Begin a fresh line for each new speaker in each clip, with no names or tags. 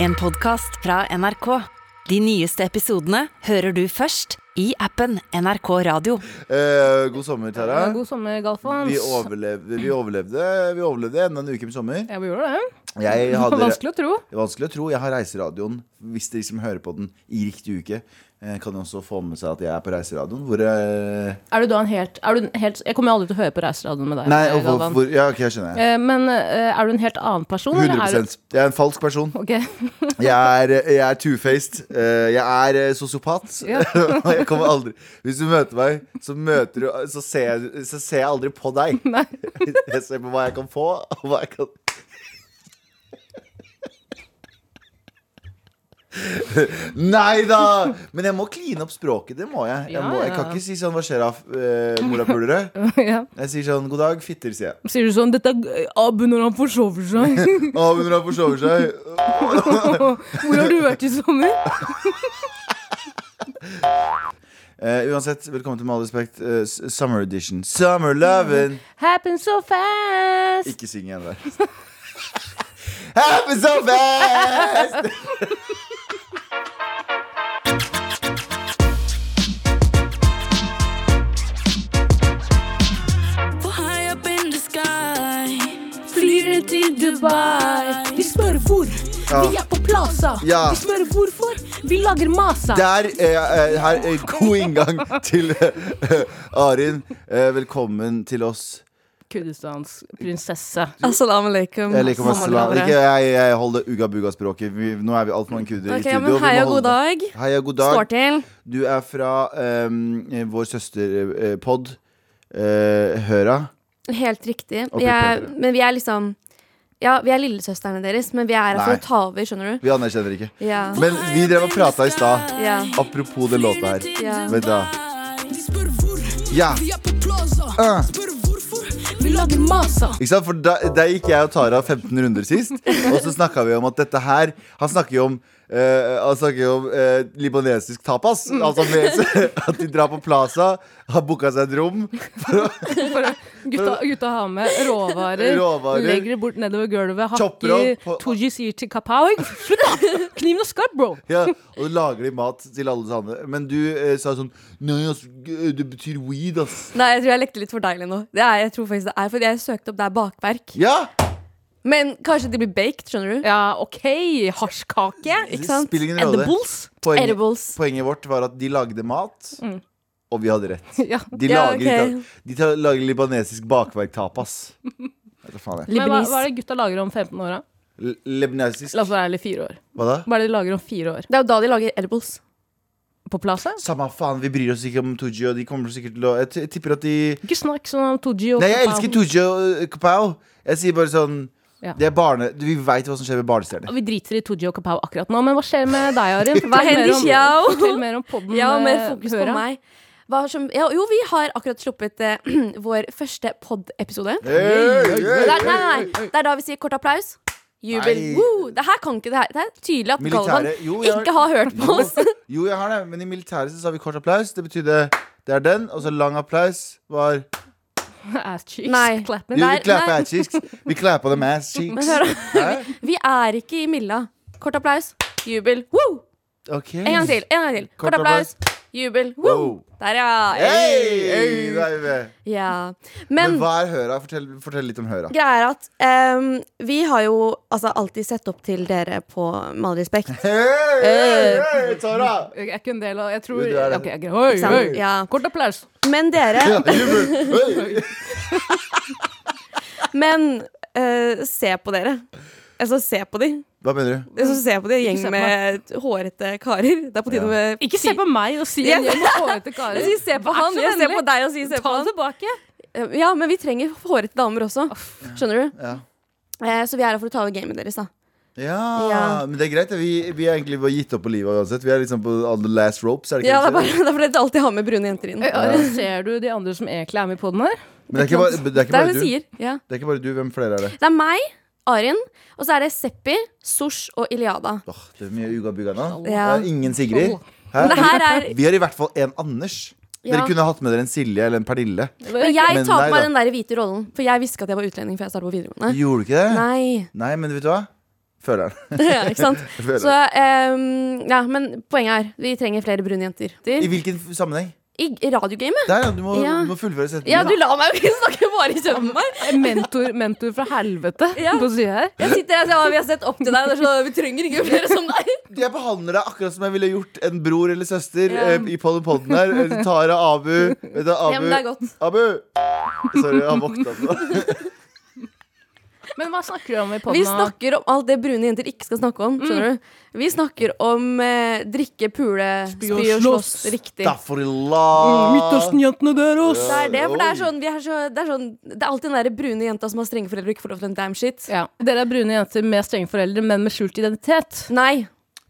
En podcast fra NRK. De nyeste episodene hører du først i appen NRK Radio.
Eh, god sommer, Tara.
God sommer, Galfans.
Vi overlevde, vi overlevde, vi overlevde enda en uke med sommer.
Ja, vi gjorde det.
Jeg
Det
hadde,
var vanskelig å tro.
Det er vanskelig å tro. Jeg har reiseradioen, hvis dere som hører på den, i riktig uke. eh, Kan jo også få med seg at jeg er på reiseradioen. Hvor eh,
Er du da en helt, er du en helt Jeg kommer jo aldri til å høre på Reiseradioen med deg. eh,
Nei, og hvor,
Galvan.
hvor Ja, ok, jeg skjønner.
Eh, Men eh, er du en helt annen person? eller er
100
du-
Jeg er en falsk person.
Ok.
Jeg er, jeg er two-faced. Eh, Jeg er eh, sosiopat.
Ja.
Og jeg kommer aldri Hvis du møter meg, så, møter du, så, ser, jeg, så ser jeg aldri på deg.
Nei.
Jeg ser på hva jeg kan få, og hva jeg kan Nei da! Men jeg må kline opp språket. Det må jeg. Jeg,
Ja,
må, jeg
ja.
kan ikke si sånn 'hva skjer av uh, morapulere'?
ja.
Jeg sier sånn 'god dag, fitter', sier jeg.
Sier du sånn 'Dette er Abu når han forsover seg'.
Å, men hun har forsovet seg.
Hvor har du vært i sommer?
Eh, uansett, velkommen til Med all respekt, eh, s- summer edition. Summer lovin'!
Happen so fast.
Ikke syng igjen der. Happy so fast!
For high up in the sky
Flyr til Dubai. Vi spør hvor. Vi er på Plaza.
Ja.
Vi spør hvorfor. Vi lager masa.
Der eh, eh, her, eh, God inngang til eh, Arin. Eh, velkommen til oss.
Kurdistans prinsesse.
Assalamu alaikum
Jeg liker meg
Assalamu
salam.
alaikum.
Ikke jeg, jeg holder uga-buga-språket. Vi- Nå er vi altfor mange
Ok,
kurdere i studio.
men
Vi må
hei og
holde
god
på.
dag
Hei og god
Står
dag.
til
Du er fra eh, vår søsterpod, eh, Høra.
Helt riktig.
Og
Jeg,
pupiller.
men vi er liksom Ja, vi er lillesøstrene deres, men vi er her for
Nei.
å ta over, skjønner du?
Vi anerkjenner ikke.
Ja.
Men vi drev og prata i stad.
ja.
Apropos den låta her.
Ja.
Vent da.
De spør hvor
Ja.
Vi er på plaza
Ah.
Spør hvorfor Vi lager masa
Ikke sant? For da, der gikk jeg og Tara 15 runder sist, og så snakka vi om at dette her Han snakker jo om eh, han snakker jo om eh, libanesisk tapas. Altså med, At de drar på Plaza, har booka seg et rom.
Bare, gutta, gutta har med råvarer,
Råvarer.
legger det bort nedover gulvet,
Chopper
hakker
opp på-
Tooji sier til Kapow Slutt, da! Kniven og skarp, bro!
Ja, og så lager de mat til alle sammen. Men du eh, sa sånn Nei, ass, g- det betyr weed, ass.
Nei, jeg tror jeg lekte litt for deilig nå. Det er, jeg tror faktisk det er, fordi jeg søkte opp der bakverk.
Ja!
Men kanskje de blir baked, skjønner du?
Ja, OK, hasjkake.
Det
sant?
spiller ingen rolle.
Edibles.
Poenget,
Edibles.
poenget vårt var at de lagde mat, og vi hadde rett.
Ja.
De
Mm. Ja,
lager,
ok.
ikke- de tar- lager libanesisk bakverk tapas. Vet du faen jeg.
Men hva,
Libanis.
hva er det gutta lager om 15 år, da?
L- Libanesisk
La oss være ærlige, fire år.
Hva da?
Hva er det de lager om fire år?
Det er jo da de lager edibles.
På Plaza?
Samme faen, vi bryr oss ikke om Tooji, og de kommer sikkert til å Jeg t- tipper at de
Ikke snakk sånn om Tooji og
Nei, jeg
Kapow.
elsker Tooji og Kapow. Jeg sier bare sånn
Ja.
Det er barne... Vi veit hva som skjer med barnestjerner.
Vi driter i Tooji og Kapow akkurat nå, men hva skjer med deg, Arin? Fortell
Hva
mer
hender,
om-
Xiao?
Fortell mer om podden.
Ja, og mer
eh,
fokus
Høra.
på meg. Hva som, ja, jo, vi har akkurat sluppet eh, vår første pod-episode. Det,
Hey, hey,
er- nei, nei, nei. det er da vi sier kort applaus. Jubel.
Nei.
Woo! Det her kan ikke det her. Det er tydelig at Galvan
Militære Jo, jeg
ikke har hørt på oss.
jo, jeg har det, men i militæret så sa vi kort applaus. Det betydde det er den, og så lang applaus var
Ass cheeks.
Nei.
Clapping.
Jo, vi
nei,
klappa
nei.
ass cheeks. Vi klappa dem ass
Men
cheeks.
hør da.
Hæ?
Vi er ikke i Milla. Kort applaus. Jubel. Woo!
Ok.
En gang til. en gang til Kort applaus. Jubel. Woo!
Wow.
Der, ja.
Hey, hey, da er vi med.
ja.
Men
Men
hva er Høra? Fortell, fortell litt om Høra.
greia er at em, vi har jo altså, alltid sett opp til dere på Med all respekt.
Hey,
Eh.
hey, hey, Tara!
Jeg er ikke en del av Jeg tror
Jo, du er det.
Ok, ok. Oi,
Ikke sant?
oi.
Ja.
Kort applaus.
Men dere
Ja, jubel. Hey.
Men eh, se på dere. Altså, se på de.
Hva mener du?
Altså, se på de gjeng
se på
med hårete karer. Det er på
Ja.
tide med
Ikke se på meg og si en gjeng med hårete karer.
Jeg sier se på han,
så
jeg ser
vennlig.
på deg og sier se på
Ta
han.
det tilbake.
Eh, Ja, men vi trenger hårete damer også. Skjønner du?
Ja.
Eh, så vi er her for å ta over gamet deres, da.
Ja,
Ja.
men det er greit. det. Vi, vi er egentlig bare gitt opp på livet uansett. Vi er liksom på on the last ropes. Er det ikke
Ja, det er
det?
bare det er fordi de alltid har med brune jenter inn.
Oi, Arin, ser du de andre som egentlig er med på den her?
Men det er ikke bare, det er ikke
Det er
bare
det
du.
hun sier. Ja.
Det er ikke bare du. Hvem flere er det?
Det er meg, Arin, og så er det Seppi, Sosh og Iliada.
Åh, det er mye uga-buga nå.
Ja.
Det er Ingen Sigrid.
Men det
Hæ?
her er
Vi har i hvert fall en Anders. Dere
Ja.
kunne hatt med dere en Silje eller en Pernille.
Men jeg
Men
tar
nei
på
da.
meg den der hvite rollen, for jeg visste ikke at jeg var utlending før jeg startet på videregående.
Gjorde du ikke det?
Nei.
Nei, men vet du hva? Føler den.
ja, ikke sant?
Føler
Så, ehm, ja, men poenget er, vi trenger flere brune jenter.
den. I
I,
hvilken f- sammenheng?
i radiogamet?
Der, ja. Du må,
Ja.
du må fullføre setningen.
Ja, du la meg jo ikke snakke bare i søvnen meg.
Mentor, mentor fra helvete
Ja.
på sida her.
Jeg sitter her og sier, «Å, vi har sett opp til deg, og det er så, vi trenger ikke flere som deg.
Jeg behandler deg akkurat som jeg ville gjort en bror eller søster eh, i podden podden her. Eh, Tara, Abu Vet du, Abu
Ja, men det er godt.
Abu! Sorry, jeg har våkna nå.
Men hva snakker du om i
Vi
podden? nå?
snakker om alt det brune jenter ikke skal snakke om, skjønner du? Vi snakker om eh, drikke, pule, spy og slåss. Riktig. Mm,
Staffelillah.
Midtøsten-jentene der, ass!
Det er det, for det
Oh.
er sånn, vi er så, det er sånn Det er alltid den der brune jenta som har strenge foreldre og ikke får lov til en damn shit.
Ja. Dere er brune jenter med strenge foreldre, men med skjult identitet.
Nei,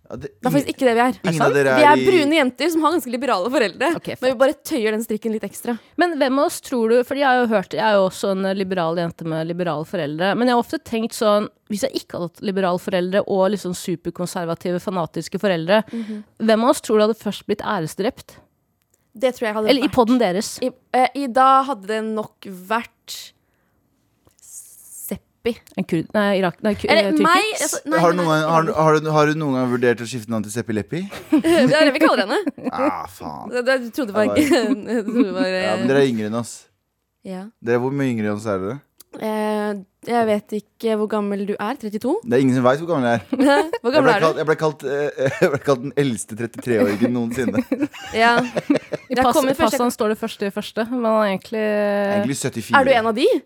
Ja, det-
det er faktisk ikke det vi er.
Ingen av dere
Vi er
i-
brune jenter som har ganske liberale foreldre.
Ok,
men vi bare tøyer den strikken litt ekstra.
Men hvem av oss tror du Fordi jeg har jo hørt Jeg er jo også en eh, liberal jente med liberale foreldre. Men jeg har ofte tenkt sånn Hvis jeg ikke hadde hatt liberale foreldre og liksom superkonservative, fanatiske foreldre, hvem av oss tror du hadde først blitt æresdrept?
Det tror jeg hadde
Eller i poden deres?
I, eh, I dag hadde det nok vært Seppi.
En kurd Nei, Irak Nei, ku-
Eller
eh, tyrker?
meg. Altså, nei,
har, du
nei,
noen gang,
nei.
har, du- har, du- har du noen gang vurdert å skifte navn til Seppi Leppi?
Det er det vi kaller henne.
Ah, faen.
Det, det, du trodde bare ikke du trodde eh, bare,
Ja, men dere er yngre enn oss.
ja.
Dere, hvor mye yngre enn oss er dere?
Eh, Jeg vet ikke hvor gammel du er. 32?
Det er ingen som veit hvor gammel jeg er. Jeg
Hvor
ble
gammel er
kalt,
du?
jeg ble kalt, eh, jeg ble kalt den eldste 33-åringen noensinne.
Ja.
I
Jeg
pass,
kommer først-
passene står det første i første, men han er egentlig
Egentlig 74.
Er du en av Altså, de?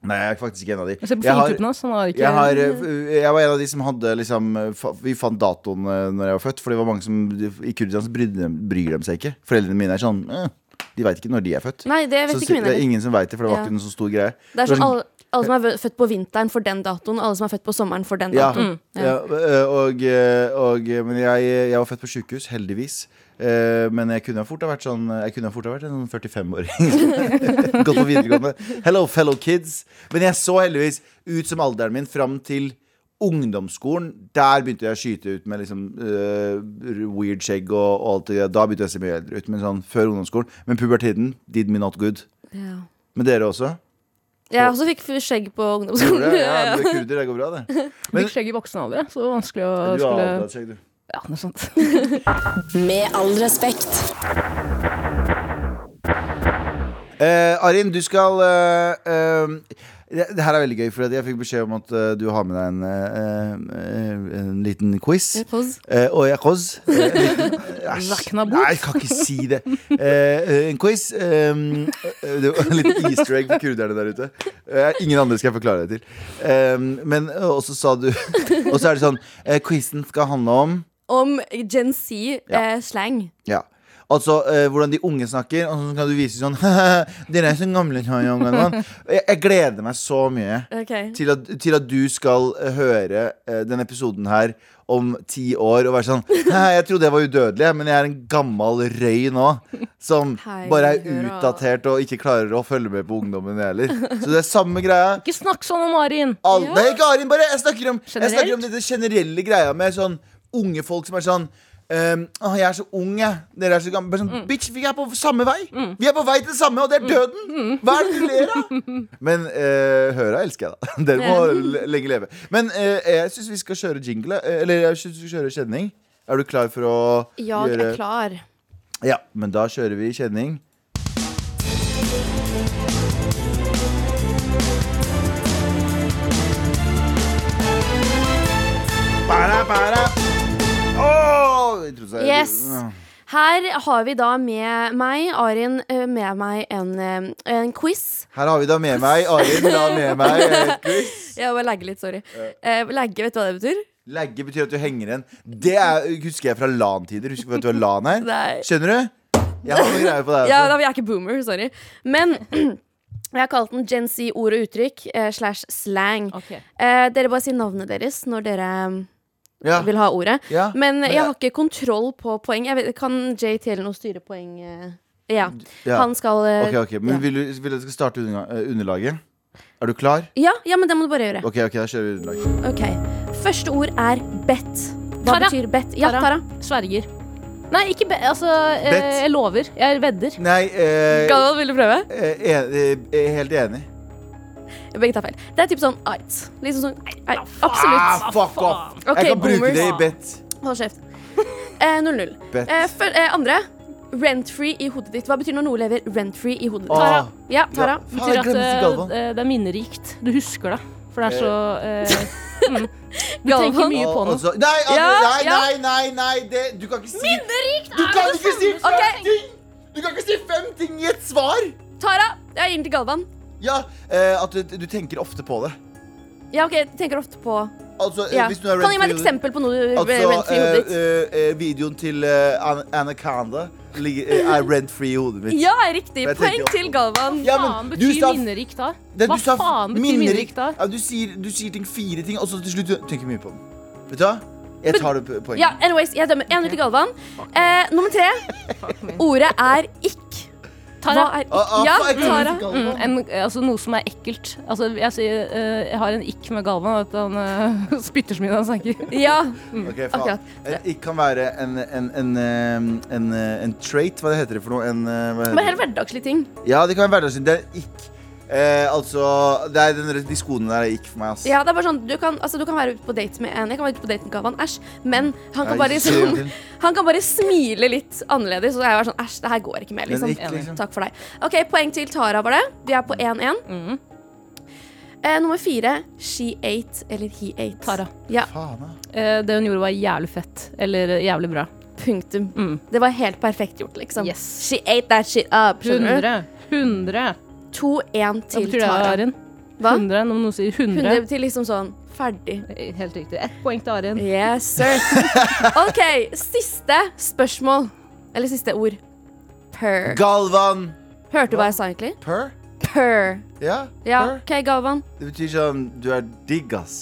Nei, jeg er faktisk ikke en av de.
Se på
Jeg har,
fingertuppene hans, han har ikke
jeg, har, eh, jeg var en av de som hadde liksom eh, fa- Vi fant datoen eh, når jeg var født, for det var mange som i Kurdistan så brydde dem- bryr de seg ikke. Foreldrene mine er sånn eh, De veit ikke når de er født.
Nei, det vet
Så
ikke
si-
mine.
det er ingen som veit det, for det var
Ja.
ikke noen så stor greie.
Det er
Det
sånn
var
alle, alle som er vø- født på vinteren, får den datoen. Alle som er født på sommeren, får den
Ja.
datoen.
Ja, øh, og, øh, og, øh, men jeg, jeg var født på sykehus, heldigvis. Eh, Men jeg kunne ha fort ha vært sånn Jeg kunne ha fort ha vært en sånn 45-åring. Gått på videregående. Hello, fellow kids. Men jeg så heldigvis ut som alderen min fram til ungdomsskolen. Der begynte jeg å skyte ut med liksom eh, weird skjegg og, og alt det der. Da begynte jeg å se mye eldre ut. Men sånn før ungdomsskolen. Men puberteten did me not good.
Ja.
Men dere også?
Jeg også fikk skjegg på
Gjorde
ungdomsskolen.
det? Ja, du er kurder, det går bra, det. men-
Fikk skjegg i voksen alder, så det var vanskelig å
Du har
skulle
avdratt skjegg, du.
Ja, noe sånt.
Med all respekt.
Eh, Arin, du skal eh, eh, det, det her er veldig gøy, for at jeg fikk beskjed om at eh, du har med deg en, eh, eh, en liten quiz. Eh, og jeg koz. Eh, en liten- Æsj.
Rakna bot.
Nei, jeg kan ikke si det. Eh, eh, en quiz. eh, eh, det var en liten easter egg for kurderne der ute. Eh, ingen andre skal jeg forklare det til. Eh, men eh, også sa du Og så er det sånn eh, Quizen skal handle om
Om Gen eh, Z-slang.
ja. Altså eh, hvordan de unge snakker, og så kan du vise sånn Dere er så gamle. nå, young man». Jeg, jeg gleder meg så mye til at, til at du skal eh, høre eh, denne episoden her om ti år og være sånn «Hæ, Jeg trodde jeg var udødelig, jeg, men jeg er en gammel røy nå. Som
Hei,
bare er
hurra.
utdatert og ikke klarer å følge med på ungdommen heller. Så det er samme greia.
Ikke snakk sånn om Arin!
Alle, Nei, ikke Arin, bare jeg snakker, om, jeg
Generelt?
snakker om dette generelle greia med sånn unge folk som er sånn ehm, «Åh, jeg er så ung, jeg. Dere er så gamle. Bare sånn, Bitch, vi er på samme vei! Vi er på vei til det samme, og det er døden! Hva er det du ler av? Men eh, høra elsker jeg, da. Dere må le- lenge leve. Men eh, jeg syns vi skal kjøre jingle. eh, Eller jeg synes vi skal kjøre kjenning. Er du klar for å
Jeg
gjøre
er klar.
Ja, men da kjører vi kjenning. Bara, bara. Åh, jeg trodde jeg-
Yes. Her har vi da med meg, Arin, eh, med meg en, eh, en quiz.
Her har vi da med meg Arin. Da med meg eh, quiz.
Jeg bare lagger litt, sorry. Eh, lagge, vet du hva det betyr?
Legge betyr at du henger igjen. Det er, husker jeg fra LAN-tider. Husker du at du har LAN her?
Nei.
Skjønner du? Jeg har noen greier på deg.
Ja,
altså.
da, jeg er ikke boomer, sorry. Men jeg har kalt den Gen Z ord og uttrykk eh, slash slang. Eh, dere bare sier navnet deres når dere um,
Ja.
vil ha ordet.
Ja,
Men
men
eh, jeg
jeg-
har ikke kontroll på poeng. Jeg vet, kan JTL nå styre poeng? eh? Ja.
Ja.
Han skal eh,
Ok, ok, Men
ja.
vil du, vil du at jeg skal starte underga- eh, underlaget? Er du klar?
Ja, ja, men det må du bare gjøre.
Ok, ok, da kjører vi underlaget.
Ok. Første ord er bet. Hva
Tara.
betyr bet? Ja,
Tara.
Tara.
Sverger. Nei, ikke be... Altså,
Bet.
eh, jeg lover. Jeg vedder.
Nei, eh,
Galvan, vil du prøve?
eh, en- eh, jeg er helt enig.
Begge tar feil. Det er typ sånn art. Liksom sånn nei, Absolutt.
Ah, fuck off!
Ok,
jeg kan bruke
boomers.
det i bet.
Hold kjeft. Eh, 0-0.
Bet.
Eh, fø- eh, andre. Rent-free i hodet ditt. Hva betyr når noe lever rent-free i hodet ditt?
Ah.
Ja, Tara.
Ja, faen,
Betyr
jeg
at
glemte til Galvan.
eh, eh, det er minnerikt. Du husker det. For det er så eh, mm. Du
Galvan?
tenker mye
Og-
på
og
noe.
så- altså. Nei, Anne,
Ja,
nei,
ja.
nei, nei, nei det, Du kan ikke si Du kan ikke si fem
Ok.
ting! Du kan ikke si fem ting i et svar!
Tara! Jeg gir den til Galvan.
Ja, eh, At du, du tenker ofte på det.
Ja, OK, jeg tenker ofte på
Altså, eh,
ja.
hvis du er
Kan du gi meg et
rent-free-
eksempel på noe du
Altså,
rent-free i hodet ditt?
eh, eh, videoen til eh, An- Anaconda ligger- eh, er rent-free i hodet mitt.
Ja, riktig.
eh, Jeg
Poeng
tenker ofte
til Galvan.
Ja, men
Faen
du
betyr
sa-
minnerikt da?
Det-
Hva
du sa
faen betyr minnerikt da?
Ja, du, sier, du sier ting fire ting, og så til slutt du tenker mye på den. Vet du hva? Jeg tar det po- poenget.
Ja, anyways, jeg dømmer. En ut til Galvan. Eh, nummer tre. Ordet er ikk. Hva
Tara.
er ikk?
Ah, ah,
Ja,
fuck, jeg glemte
Tara.
til Galvan.
Mm, en, altså noe som er ekkelt. Altså, jeg, sier, eh, jeg har en ikk med Galvan. At han eh, spytter så mye når han snakker.
Ja.
Ok, faen.
Mm, Akkurat.
En ikk kan være en, en, en, eh, en, eh, en trait. Hva heter det for noe? En, eh, hva
Bare
heter
helt hverdagslige ting.
det? Ja, det kan være hverdagslig. Det er ikk. Eh, altså, det er den, de skoene der er ikk for meg, ass.
Ja, det er bare sånn, du kan, altså, du kan være ute på date med en Jeg kan være ute på date med Galvan, æsj. Men han kan, bare,
Jeg ser
liksom,
til.
han kan bare smile litt annerledes. Og jeg er sånn, æsj, det her går ikke
Men
mer. Liksom.
ikke, liksom.
Takk for deg. OK, poeng til Tara var det. Vi er på 1-1.
Mm.
Eh, nummer fire, she ate eller he ate.
Tara.
Ja,
Faen, da.
Eh, det hun gjorde, var jævlig fett. Eller eh, jævlig bra.
punktum.
Mm.
Det var helt perfekt gjort, liksom.
Yes.
She ate that shit up. Skjønner du?
100. 100.
2-1
Hva
til
betyr det,
Tara.
Arin?
Hva?
100, når noen sier
100
100.
betyr liksom sånn ferdig.
Helt riktig. Ett poeng til Arin.
Yes, sir. OK, siste spørsmål. Eller siste ord. Per.
Galvan.
Hørte du hva jeg sa egentlig?
Per?
Per.
Ja?
Ja,
Per?
OK, Galvan.
Det betyr sånn du er digg, ass.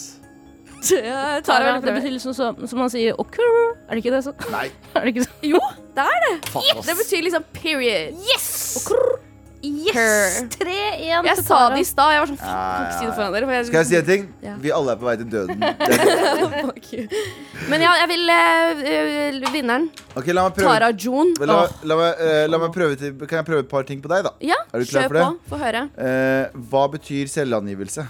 Tara,
det betyr liksom så, som man sier okuru. Er det ikke det sånn?
Nei,
Er det ikke sånn?
Jo, det er det.
faen, ass.
Det betyr liksom period.
Yes!
Per.
Yes! 3-1
Jeg
til
sa
Tara.
det i stad. Jeg var sånn,
Ja,
fuck, kan ikke si
ja,
det
ja.
foran dere. for
Skal jeg si en ting?
Ja.
Vi alle er på vei til døden. Det-
Fuck you. Men ja, jeg vil eh, eh, Vinneren.
Ok, La meg prøve,
Tara June.
la, la, meg, eh, la meg prøve til, Kan jeg prøve et par ting på deg, da?
Ja,
Er du klar
kjør
for det?
på. Få høre.
Eh, hva betyr selvangivelse?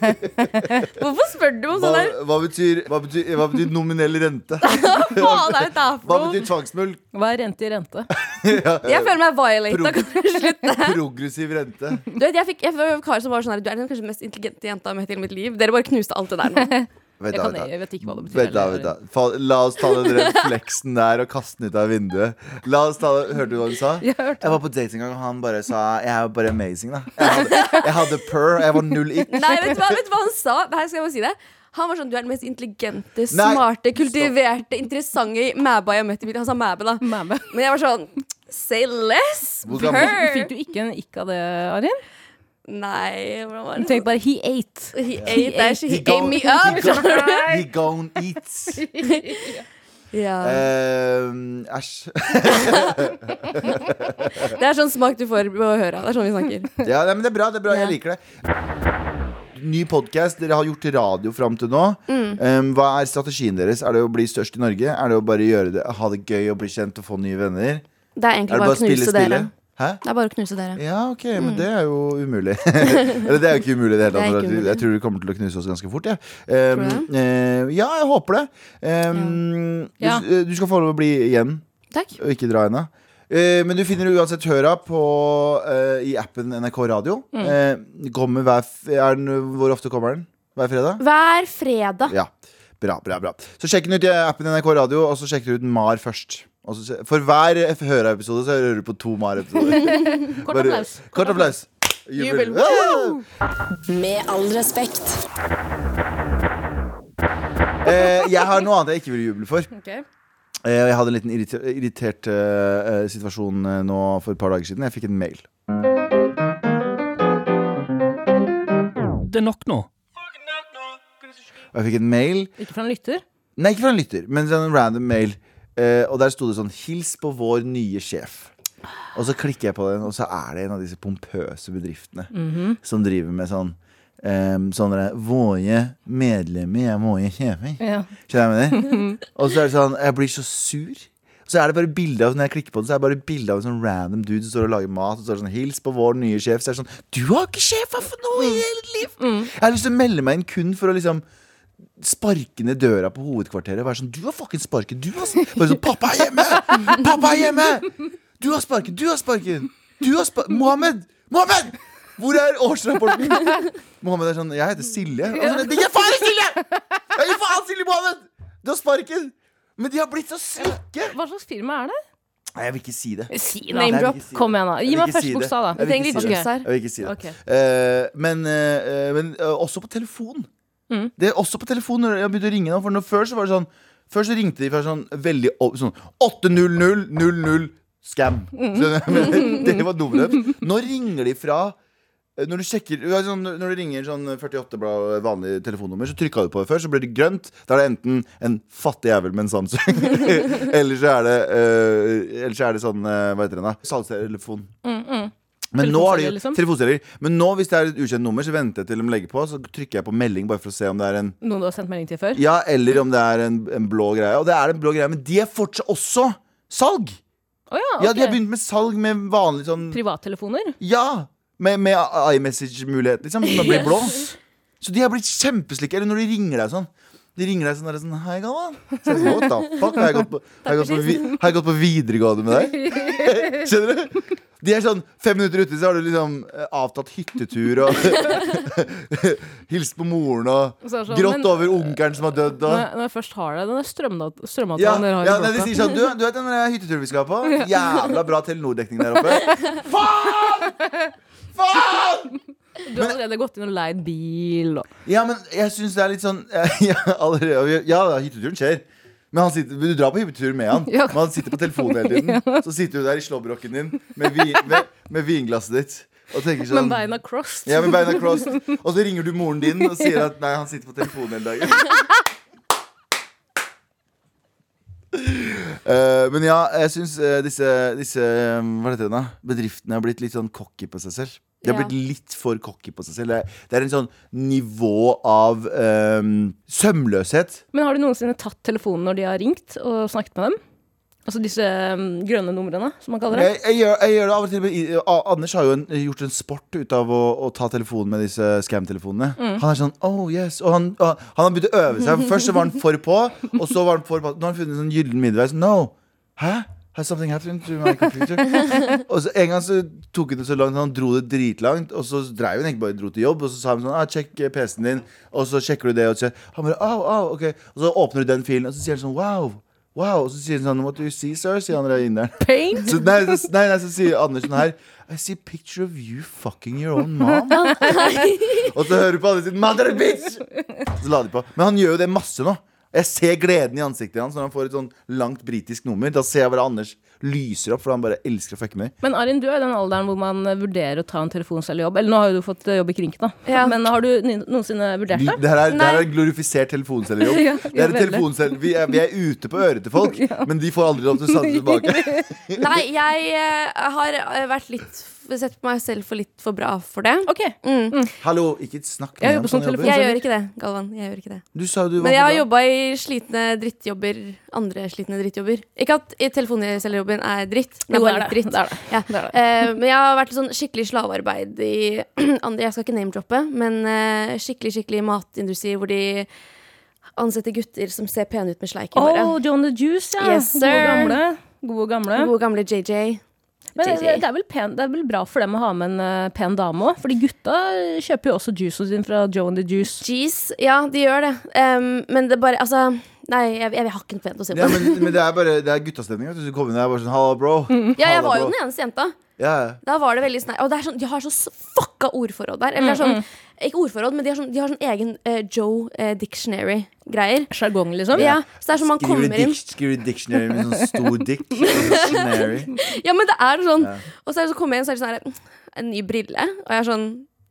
Hvorfor spør du om
Hva,
sånn der?
hva, betyr, hva, betyr, hva betyr nominell rente?
Faen, er det der
Hva
for noe?
betyr tvangsmulk?
Hva er rente i rente?
Jeg føler meg violata.
Pro-
Kan du slutte?
Progressiv rente.
Du vet, jeg fikk jeg var en kar som var sånn her Du er den kanskje mest intelligente jenta jeg har møtt i hele mitt liv. Dere bare knuste alt det der nå.
Vent
Jeg,
da,
kan,
vent da.
jeg vet ikke hva det betyr.
Vent da,
heller,
vent da. Fa- La oss ta den røde fleksen der og kaste den ut av vinduet. La oss ta, hørte du hva du sa?
Arin. Jeg hørte
Jeg var på date en gang, og han bare sa Jeg er bare amazing, da. Jeg hadde, jeg hadde purr, og jeg var null ick.
Nei, vet du hva, vet du hva han sa? Nei, skal jeg bare si det? Han var sånn Du er den mest intelligente,
Nei,
smarte, kultiverte, interessante mæba jeg har møtt i mitt liv. Han sa mæbe, da.
Mæme.
Men jeg var sånn Say less!
Hvor gammel-
Per!
Fikk du ikke en ikk av det, Arin?
Nei, hvordan var
Du
det?
tenkte bare 'he ate'.
He ate that shit. He ate me
he
up.
gone, he gone eats.
Ja.
Eh, Ehm, Æsj.
Det er sånn smak du får på å høre. Det er sånn vi snakker.
ja, nei, men det er bra, det er bra, jeg liker det. Ny podkast. Dere har gjort radio fram til nå. Ehm, hva er strategien deres? Er det å bli størst i Norge? Er det å bare gjøre det, ha det gøy og bli kjent og få nye venner?
Det er
Er det
egentlig
bare å
bare å
spille
knuse dere.
spillet? Hæ?
Det er bare å knuse dere.
Ja, ok, men det er jo umulig. Eller det er jo ikke umulig i det hele
Mm. Det
tatt.
er ikke
for
umulig.
Jeg tror det kommer til å knuse oss ganske fort, jeg. Ja. ja, jeg håper det. Ehm,
Ja.
Du, du skal få lov å bli igjen.
Takk.
Og ikke dra ennå. Eh, men du finner uansett Høra på, eh, i appen NRK Radio.
Mm.
Eh, kommer hver f er den, hvor ofte kommer den? Hver fredag?
Hver fredag.
Ja. Bra, bra, bra. Så sjekk den ut i appen NRK Radio, og så sjekk ut Mar først. Og så, se- for hver F- Høra-episode så hører du på to Mar-episoder.
Kort
Bare-
applaus.
Kort applaus. Jubel. Ah!
Med all respekt.
Eh, jeg har noe annet jeg ikke vil juble for.
Ok.
Eh, Jeg hadde en liten irriter irritert eh, eh, situasjon eh, nå for et par dager siden. Jeg fikk en mail.
Det er nok nå.
Og jeg fikk en mail
Ikke fra en lytter?
Nei, ikke fra en lytter, men fra en random mail. Eh, og der sto det sånn 'Hils på vår nye sjef'. Og så klikker jeg på den, og så er det en av disse pompøse bedriftene som driver med sånn um, sånne 'Våre medlemmer er våre sjefer'.
Ja.
Skjønner jeg hva jeg mener? Og så er det sånn Jeg blir så sur. Så er det bare bilde av Når jeg klikker på den, så er det bare bilde av en sånn random dude som står og lager mat. Og så er det sånn, Hils på vår nye sjef. Så er det sånn Du har ikke sjefa for noe i hele livet! Jeg har lyst til å melde meg inn kun for å liksom sparke ned døra på hovedkvarteret og være sånn Du har fucking sparken! Du har sparken! Bare sånn Pappa er hjemme! Pappa er hjemme! Du har sparken! Du har sparken! Du har sparken! Mohammed! Mohammed! Hvor er årsrapporten? Mohammed er sånn Jeg heter Silje. Og så er det, jeg er faen ikke Silje! Jeg er jo faen Silje Mohammed! Du har sparken! Men de har blitt så svekke!
Hva slags firma er det?
Nei, jeg vil ikke si det.
Si
da. Nei, jeg vil ikke si det.
Kom igjen, da.
Jeg
Gi
vil
meg
ikke
første
si det.
bokstav, da.
Jeg vil ikke
trenger litt
si det.
juks her.
Jeg vil ikke si det.
Ok.
Eh, men eh, men eh, også på telefon.
Mm.
Det er også på telefon når jeg begynte å ringe nå. For når, før så var det sånn Før så ringte de fra sånn veldig opp- sånn 80000 scam.
Mm.
Skjønner du? Men Det var nummeret. Nå ringer de fra eh, når du, sjekker, ja, sånn, når du ringer sånn 48-blad vanlig telefonnummer, så trykka du på det før, så blir det grønt. Da er det enten en fattig jævel med en Samsung, eller så er det, eh, eller så er det sånn eh, Hva heter den, da? Salgstelefon.
Mm,
Men nå har de
Telefonselger, liksom?
telefonselger. Men nå, hvis det er et ukjent nummer, så venter jeg til de legger på. Så trykker jeg på melding bare for å se om det er en
Noen du har sendt melding til før?
Ja, eller om det er en, en blå greie. Og det er en blå greie, men de er fortsatt også salg!
Å ja,
Ja, de har
ok.
begynt med salg med vanlig sånn
Privattelefoner?
Ja! Med, med iMessage-mulighet, liksom. Som blir blå. Så de har blitt kjempeslikke. Eller når de ringer deg sånn. De ringer deg sånn, der, sånn Hei, gammal. Så jeg, What the fuck? Har jeg gått på, har jeg gått på, vi, har jeg gått på videregående med deg? Skjønner du? De er sånn, Fem minutter ute så har du liksom eh, avtatt hyttetur og hilst på moren og
Og så er det sånn,
grått
men-
over onkelen som har dødd.
Når
og
jeg, når jeg først har det, den der strømdat- strømavtalen
ja,
dere har
ja
i
nei, de
blokka.
sier sånn Du, du vet den der hytteturen vi skal på? Jævla bra Telenor-dekning der oppe. Faen! Faen!
Du har allerede gått inn og leid bil og
Ja, men jeg syns det er litt sånn Ja, allerede, ja da, hytteturen skjer. Men han sitter, du drar på hyttetur med han.
Ja.
Men han sitter på telefonen hele tiden. Så sitter du der i slåbroken din med, vi, med, med vinglasset ditt og tenker sånn
Men beina crossed.
ja, med beina crossed. Og så ringer du moren din og sier at nei, han sitter på telefonen hele dagen. Eh, men ja, jeg syns disse, disse eh, hva heter det da? bedriftene har blitt litt sånn cocky på seg selv. De har
Ja.
blitt litt for cocky på seg selv. Det er, det er en sånn nivå av eh, sømløshet.
Men har du noensinne tatt telefonen når de har ringt og snakket med dem? Altså disse um, grønne numrene, som man kaller det.
Jeg, jeg, gjør, jeg gjør det av og til. men i- A- Anders har jo en, gjort en sport ut av å, å ta telefonen med disse scam-telefonene. Han er sånn oh yes Og han, og han har begynt å øve seg. Først så var han for på, og så var han for på. Nå har han funnet en sånn gyllen middelvei. Sånn, No! Hæ? Has something happened to my computer? og så En gang så tok han det så langt, han dro det dritlangt, og så dreiv han egentlig bare dro til jobb, og så sa han sånn ah, 'Sjekk eh, PC-en din', og så sjekker du det, og så Han bare au, au, ok Og så åpner du den filen, og så sier han sånn 'wow'. Wow, Og så sier han sånn 'What do you see, sir?' sier han der inne.
Paint!
Så, nei, så, nei, nei, så sier Andersen her I see picture of you fucking your own mom. og så hører du på Andersen Mother bitch! Så la de på. Men han gjør jo det masse nå. Jeg ser gleden i ansiktet hans når han får et sånn langt britisk nummer. Da ser jeg bare Anders lyser opp, for han bare elsker å fucke med.
Men Arin, du er i den alderen hvor man eh, vurderer å ta en telefonselgerjobb. Eller nå har jo du fått eh, jobb i Krinken, da.
Ja.
Men har du ni- noensinne vurdert
Vi-
det?
Det her er, det her
Nei.
er en glorifisert telefonselgerjobb.
Ja,
Det er en
veldig.
telefonselger- vi, er- vi er ute på øret til folk, men de får aldri lov til å sanse tilbake.
Nei, jeg eh, har eh, vært litt Sett på meg selv for litt for bra for det.
Ok.
Mm.
Hallo, ikke snakk
Jeg
med ham
jobber som
som jobber.
Jeg gjør ikke det, Galvan. Jeg gjør ikke det.
Du sa jo du var
Men jeg
på
har
jobb.
jobba i slitne drittjobber. Andre slitne drittjobber. Ikke at i telefonselgerjobben er dritt. Det
Jo,
er
det
bare
er
litt
det.
dritt.
Det er det.
Ja.
det, er det.
Eh, men jeg har vært sånn skikkelig slavearbeid i andre Jeg skal ikke name-droppe, men eh, skikkelig skikkelig matindustri hvor de ansetter gutter som ser pene ut med sleik i håret.
Oh, John the Juice, ja.
Yes,
Gode
sir.
gamle. Gode gamle.
Gode gamle JJ.
Men det,
JJ.
det, er vel pen, det er vel bra for dem å ha med en eh, pen dame òg? Fordi gutta kjøper jo også juicen sin fra Joe and the Juice.
Jeez. Ja, de gjør det. Em, men det bare Altså, nei, jeg, jeg har ikke noe pent å se på.
Ja, men, men det er bare Det er guttastemning. vet du. Du kommer inn der bare sånn Hallo, bro.
Ja, jeg
Hallo,
var jo
bro.»
den eneste jenta.
Ja,
Da var det veldig sånn Og det er sånn, de har så s- fucka ordforråd der. Eller det er sånn, ikke ordforråd, men de har sånn, de har sånn egen eh, Joe eh, Dictionary-greier.
Sjargong, liksom.
Ja, så det er sånn man
Skriver
kommer
i
inn
dikt- skriver i dictionary med sånn stor dick. Dictionary.
Ja, men det er sånn.
Ja.
Og så, er det så kommer jeg inn, så er det sånn her, «Mm, En ny brille. Og jeg er sånn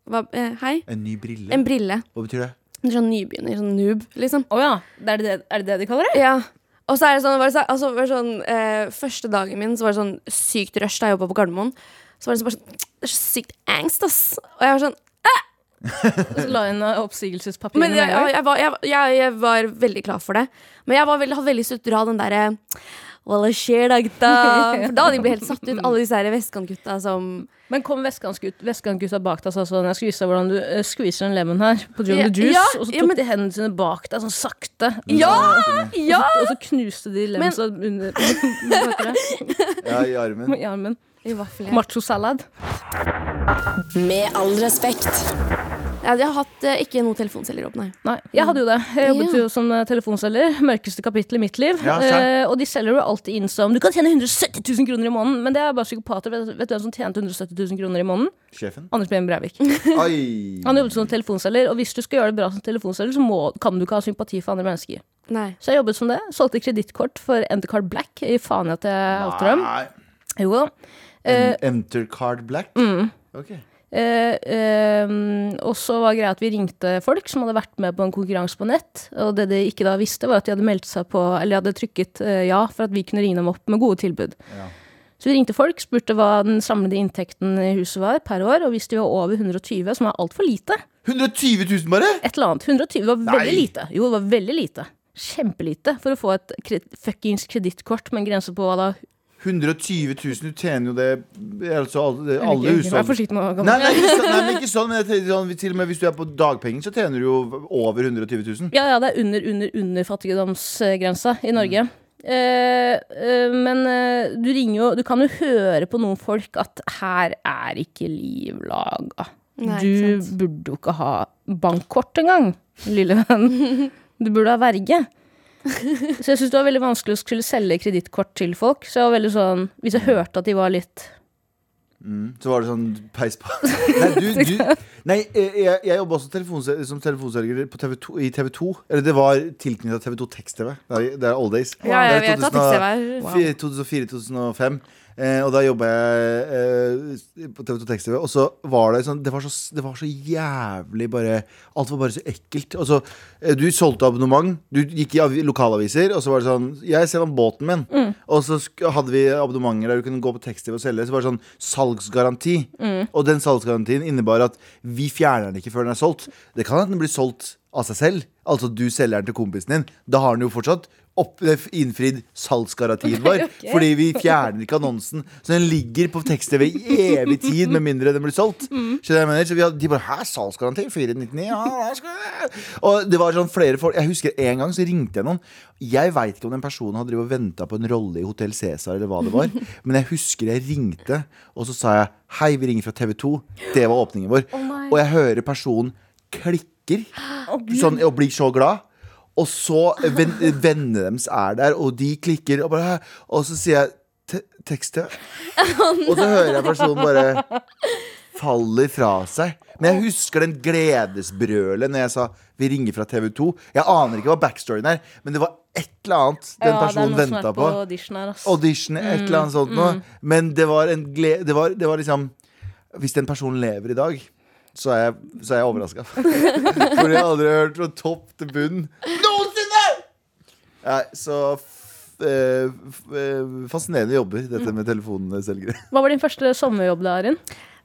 hva, eh, Hei.
En ny brille.
En brille.
Hva betyr det?
En sånn nybegynner. Sånn noob, liksom.
Å ja. Er det det, er det det de kaller det?
Ja. Og så er det sånn, var det, så- altså, var det sånn eh, Første dagen min så var det sånn sykt rush da jeg jobba på Gardermoen. Så var det sånn bare sånn Det er så sykt angst, ass. Og jeg var sånn
Og så la inn eh, oppsigelsespapirene
Men
med
jeg,
en gang.
jeg, var, jeg, jeg, jeg var veldig klar for det. Men jeg var veldig, hadde veldig lyst til å dra den derre Hva skjer da, gutta? For da hadde de blitt helt satt ut, alle disse her vestkantgutta som
Men kom vestkantgut- vestkantgutta bak deg og sa sånn Jeg skal vise deg hvordan du eh, squeezer en lemon her på John
Ja,
the Juice.
ja,
og så tok
ja, men-
de hendene sine bak deg sånn sakte.
Ja! Ja!
Og så knuste de lemensa under bak deg,
Ja, i armen.
i armen.
I vaffel, ja.
Macho salad.
Med all respekt.
Ja, de har hatt eh, ikke noen telefonceller opp, nei.
Nei, jeg hadde jo det. Jeg jobbet
Ja.
jo som eh, telefonselger. Mørkeste kapittel i mitt liv.
Ja, sant.
Eh, og de selger jo alltid inn som Du kan tjene 170 000 kroner i måneden, men det er bare psykopater. Vet, vet du hvem som tjente 170 000 kroner i måneden?
Sjefen.
Anders Behn Breivik.
Oi.
Han jobbet som telefonselger, og hvis du skal gjøre det bra som telefonselger, så må, kan du ikke ha sympati for andre mennesker.
nei.
Så jeg jobbet som det. Solgte kredittkort for Entercard Black i faen i at jeg outer dem.
Nei.
Jo da.
Eh.
En- Entercard Black?
Mm.
Ok.
Eh, eh, og så var greia at vi ringte folk som hadde vært med på en konkurranse på nett. Og det de ikke da visste, var at de hadde meldt seg på Eller de hadde trykket eh, ja for at vi kunne ringe dem opp med gode tilbud.
Ja.
Så vi ringte folk, spurte hva den samlede inntekten i huset var per år. Og hvis de var over 120, som var altfor lite,
120 000 bare?
et eller annet 120 var
Nei.
veldig lite. Jo, det var veldig lite. Kjempelite for å få et kred fuckings kredittkort med en grense på hva da
120 000, du tjener jo det altså, alle, alle
Vær
hushold...
forsiktig nå.
Nei,
gammel.
nei, ikke sånn, nei, men ikke sånn, men jeg tenker sånn, til og med hvis du er på dagpenger, så tjener du jo over 120 000.
Ja, ja, det er under, under, under fattigdomsgrensa i Norge. Eh, eh, men eh, du ringer jo Du kan jo høre på noen folk at her er ikke liv laga.
Nei,
Du
ikke sant.
burde jo ikke ha bankkort engang, lille venn. Du burde ha verge. Så jeg syns det var veldig vanskelig å skulle selge kredittkort til folk. Så jeg var veldig sånn Hvis jeg hørte at de var litt
Mm, så var det sånn peis på. Nei, du, du,
Liksom.
nei eh, jeg, jeg jobba også telefonse- som telefonselger på TV2, i TV2. Eller det var tilknytta TV2 Tekst-TV. Det er- det er old days.
Ja,
Det
jeg
er
vet at det ser
2004-2005. Eh, og da jobba jeg eh, på TV2 Tekst-TV, og så var det sånn det var, så, det var så jævlig bare Alt var bare så ekkelt. Og så, eh, du solgte abonnement. Du gikk i avi- lokalaviser, og så var det sånn Jeg ser om båten min. Og så sk hadde vi abonnementer der du kunne gå på Tekst-TV og selge. Så var det sånn salgsgaranti. Og den salgsgarantien innebar at vi fjerner den ikke før den er solgt. Det kan hende den blir solgt av seg selv. Altså du selger den til kompisen din. Da har den jo fortsatt opp, eh, innfridd salgsgarantien vår. Fordi vi fjerner ikke annonsen. Så den ligger på tekst-TV i evig tid, med mindre den blir solgt. Skjønner du hva jeg mener? Så vi hadde, de bare Hæ, salgsgaranti? 499? Ja, da skal jeg Og det var sånn flere folk Jeg husker en gang så ringte jeg noen. Jeg veit ikke om den personen hadde drevet og venta på en rolle i Hotell Cæsar eller hva det var, men jeg husker jeg ringte, og så sa jeg Hei, vi ringer fra TV2. Det var åpningen vår. og jeg hører personen klikker sånn, og blir så glad. Og så ven, vennene deres er der, og de klikker, og, bare, «Hæ?» og så sier jeg «Te- tekst-TV. og så hører jeg personen bare faller fra seg. Men jeg husker den gledesbrølet når jeg sa 'vi ringer fra TV 2'. Jeg aner ikke hva backstoryen er, men det var et eller annet den
Ja, det er
personen
noen som er
venta på.
audition her, ass.
Audition, et eller annet sånt noe. Men det var en glede det, var- det var liksom Hvis den personen lever i dag, så er jeg, så er jeg overraska. For jeg har aldri hørt fra topp til bunn noensinne! Nei, så f eh, f eh, Fascinerende jobber, dette med telefonselgere.
Hva var din første sommerjobb, da, Arin?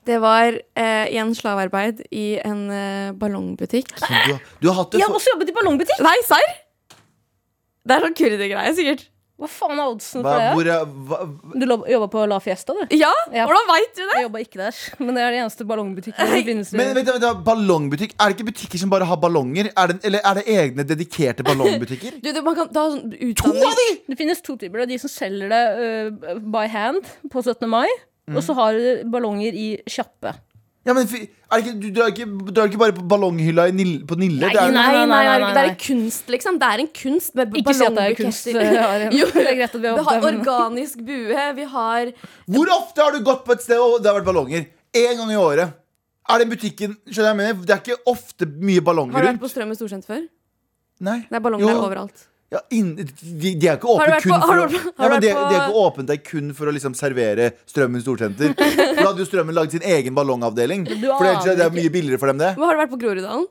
Det var eh, igjen slavearbeid i en eh, ballongbutikk.
Så Du, har- du har hatt det
Jeg har
for
også jobbet i ballongbutikk!
Nei, serr? Det er sånn kurdergreie, sikkert.
Hva faen er oddsen for
hva,
det?
hvor, er- hva,
Du lo- jobba på La Fiesta, du?
Ja,
Ja.
hvordan veit du det?
Jeg jobba ikke der, men det er det eneste ballongbutikken i forbindelse
Men vent, da, vent, da, ballongbutikk? Er det ikke butikker som bare har ballonger? Er det, eller er det egne dedikerte ballongbutikker?
Du, det- man kan ta sånn
To av
utdanning.
de!
Det finnes to typer. Det er de som selger det øh, by hand på 17. mai,
Mm.
og så har du ballonger i kjappe.
Ja, men fy- er det ikke, du drar ikke, drar ikke bare på ballonghylla i Nil- på Nille? Det er-
Nei, nei, nei, nei, nei.
Det er en kunst, liksom. Det er en kunst med
Ikke si at det er kunst. øh,
ballongbuketter.
Arin.
Jo.
det er greit at vi
Vi
har
har
åpnet den.
organisk bue, vi har
Hvor ofte har du gått på et sted og det har vært ballonger? Én gang i året. Er den butikken Skjønner jeg hva jeg mener? Det er ikke ofte mye
Har
ballonger
du vært
rundt.
på Strømmen storsenter før?
Nei.
Det er
Jo.
ballonger der overalt.
Ja, inn, de, de er ikke
Har du
åpne
vært
kun
på- har
for
du
å-
vært på-
Ja,
har
men
du
de,
vært
de er
på-
ikke åpent der kun for å liksom servere Strømmen storsenter. Da hadde jo Strømmen lagd sin egen ballongavdeling.
Du
For det, er-
aner
det er mye billigere for dem, det.
Men har du vært på Groruddalen?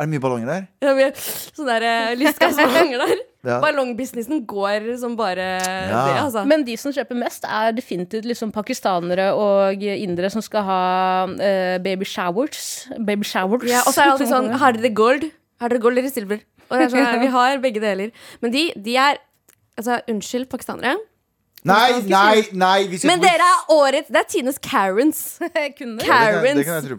Er det mye ballonger der?
Det er mye Sånne der, eh, lystgassballonger der.
Ja.
Ballongbusinessen går som bare det, altså.
Men de som kjøper mest, er definitivt liksom pakistanere og indere som skal ha øh, baby showers. Baby showers.
Ja, og så er det alltid sånn Har dere gold? Har dere gold eller silver? Og det er sånn, Vi har begge deler. Men de, de er Altså, unnskyld, pakistanere.
Nei, nei, nei! Vi skal ikke bli-
Men dere er årets Det er tidenes Karens.
Kunne.
Det kan, jeg- det
Karens.
kan jeg tro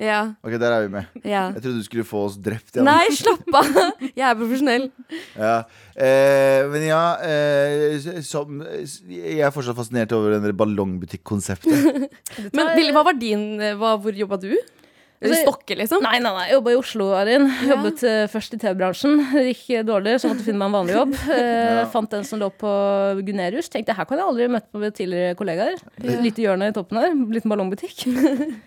på.
Ja,
Ok, der er vi med.
ja.
Jeg trodde du skulle få oss drept. Ja.
Nei, slapp av. Jeg er profesjonell.
Ja. Eh, men ja eh, som, Jeg er fortsatt fascinert over den der ballongbutikkonseptet.
Men Willy, hva var din eh, hva, Hvor jobba du? Eller
Altså,
stokke, liksom?
Nei, nei, nei. Jobba i Oslo, Arin. Jobbet eh, først i TV-bransjen. Det gikk eh, dårlig, så måtte jeg finne meg en vanlig jobb. Eh, Fant en som lå på Gunerius. Tenkte her kan jeg aldri møte på med tidligere kollegaer. Lite hjørne i toppen her. Liten ballongbutikk.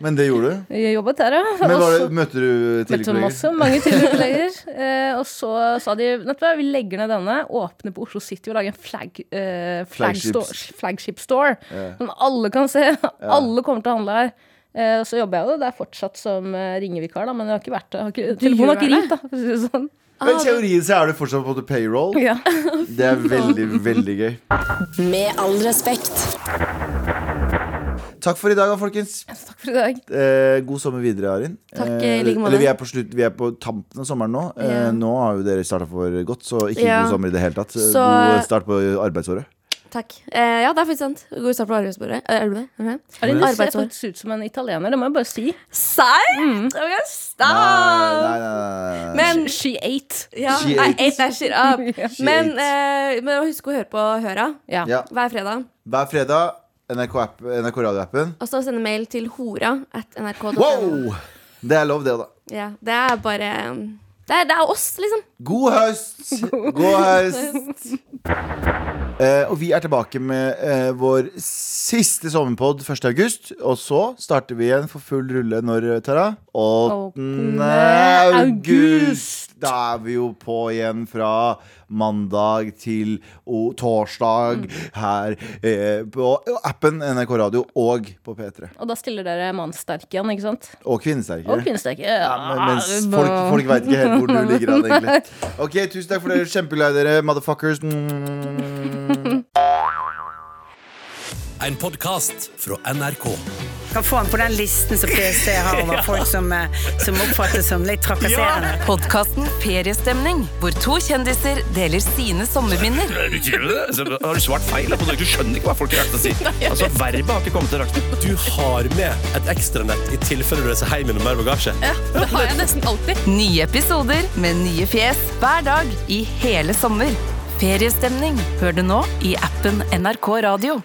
Men det gjorde du.
Jeg jobbet der, ja.
Men
Og
var
så-
det, møtte du
Møtte
tidligere
masse, mange tidligere kolleger. Eh, og så sa de vet du hva, vi legger ned denne, åpner på Oslo City og lager en flag, eh, flag
Flagship.
store- flagship store.
Ja.
Som alle kan se. Alle kommer til å handle her. Eh, og så jobber jeg jo der fortsatt som eh, ringevikar, da, men jeg har ikke vært det. Har ikke, telefonen har ikke ringt, da. For å si det sånn.
Men i teorien så er du fortsatt på payroll.
Ja.
Det er veldig, veldig gøy.
Med all respekt.
Takk for i dag, da, folkens.
Takk for i dag.
Eh, god sommer videre, Arin. Eh,
Takk, i like måte.
Eller vi er, på slutt, vi er på tampen av sommeren nå. Eh,
Ja.
nå har jo dere starta for godt, så ikke
Ja.
god sommer i det hele tatt.
Så-
God start på arbeidsåret.
Takk. Eh, ja, det er faktisk sant. God start på arbeidsbordet. Eh, arbeidet. Mhm.
Arin, du ser
Arbeidsår.
faktisk ut som en italiener, det må jeg bare si.
Serr?
Mm.
Ok,
Nei,
stopp!
nei, nei, nei.
Men
She ate.
ja,
She
nei,
ate.
eight, nei, shit up.
Shit.
Men, eh, men husk å høre på Høra
Ja.
ja.
hver fredag.
Hver fredag, NRK, app- NRK radioappen.
Og så sende mail til hora at nrk.no.
Wow! Det er lov, det, da.
Ja, det er bare det er, det er oss, liksom.
God høst! God høst! Eh, og vi er tilbake med eh, vår siste sommerpod 1. august. Og så starter vi igjen for full rulle når, eh, Tara? 8. august! Da er vi jo på igjen fra mandag til o torsdag her eh, på appen NRK Radio og på P3.
Og da stiller dere mannssterk igjen, ikke sant?
Og kvinnesterkere.
Og kvinnesterk. Ja,
Ja, men, mens folk, folk veit ikke helt hvor du ligger an, egentlig. Ok, Tusen takk for dere. Kjempeglad i dere, motherfuckers. Mm.
En podkast fra NRK.
kan få han på den listen som PST har over folk som, eh, som oppfattes som litt trakasserende.
Podkasten Feriestemning, hvor to kjendiser deler sine sommerminner.
Er du ikke det? Så Har du svart feil? da, på det? Du skjønner ikke hva folk rakk å si. Altså, Verbet har ikke kommet til rakten.
Du har med et ekstranett i tilfelle du reiser hjem med noe mer bagasje.
Det har jeg nesten alltid.
Nye episoder med nye fjes hver dag i hele sommer. Feriestemning hør du nå i appen NRK Radio.